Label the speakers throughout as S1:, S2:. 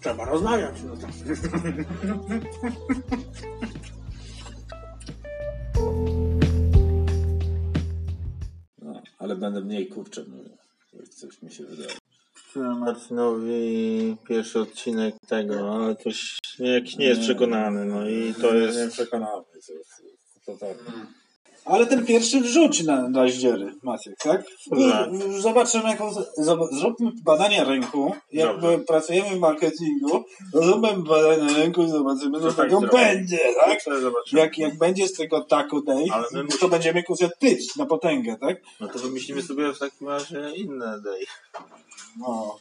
S1: trzeba rozmawiać. No tak.
S2: No, ale będę mniej kurczę mówił, jak coś mi się wydaje.
S3: Puściłem Marcinowi pierwszy odcinek tego, ale to jakiś nie jest przekonany, no i to
S2: Nie
S3: jest...
S2: przekonamy, to jest totalnie.
S4: Ale ten pierwszy wrzuć na, na ździery, Maciek, tak?
S3: Tak.
S4: Zobaczymy, jaką, zob- zróbmy badanie rynku. Jak
S3: Dobrze.
S4: my pracujemy w marketingu, to zróbmy badanie rynku i zobaczymy, co z
S3: tak
S4: tego
S3: zrobię.
S4: będzie, tak?
S3: Ale zobaczymy.
S4: Jak, jak będzie z tego taku day,
S3: Ale my
S4: to
S3: musimy-
S4: będziemy kusać tyć na potęgę, tak?
S3: No to wymyślimy sobie w takim razie inne day.
S4: No,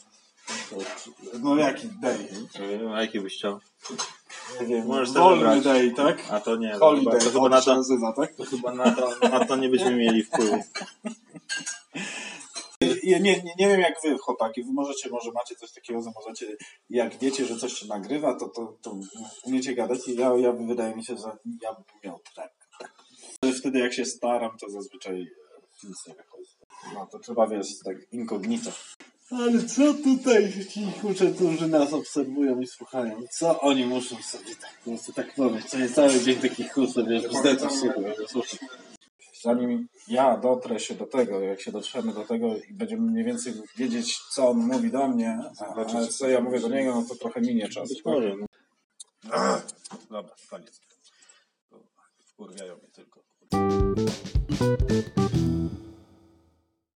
S4: no jaki day?
S3: A jaki byś chciał?
S4: Nie wiem,
S3: Możesz sobie
S4: wolny
S3: wybrać.
S4: day, tak?
S3: A to nie, no, chyba,
S4: Holiday,
S3: to chyba na
S4: się
S3: to,
S4: nazywa, tak?
S3: to chyba na to, na to nie będziemy mieli wpływu.
S4: Ja nie, nie, nie wiem jak wy, chłopaki, wy możecie, może macie coś takiego, że możecie, jak wiecie, że coś się nagrywa, to, to, to umiecie gadać i ja, ja wydaje mi się, że ja bym miał trek. Ale wtedy jak się staram, to zazwyczaj e, nic nie wychodzi. No to trzeba, wiesz, tak incognito. Ale co tutaj ci kurczę, którzy nas obserwują i słuchają? Co oni muszą sobie tak, muszę tak mówić? Co jest cały dzień takich kurczę, wiesz, bzdetów słuchają.
S2: Zanim ja dotrę się do tego, jak się dotrzemy do tego i będziemy mniej więcej wiedzieć, co on mówi do mnie, a, a co ja mówię do niego, no to trochę minie czas.
S3: Być może, no.
S2: Dobra, koniec. Wkurwiają mnie tylko.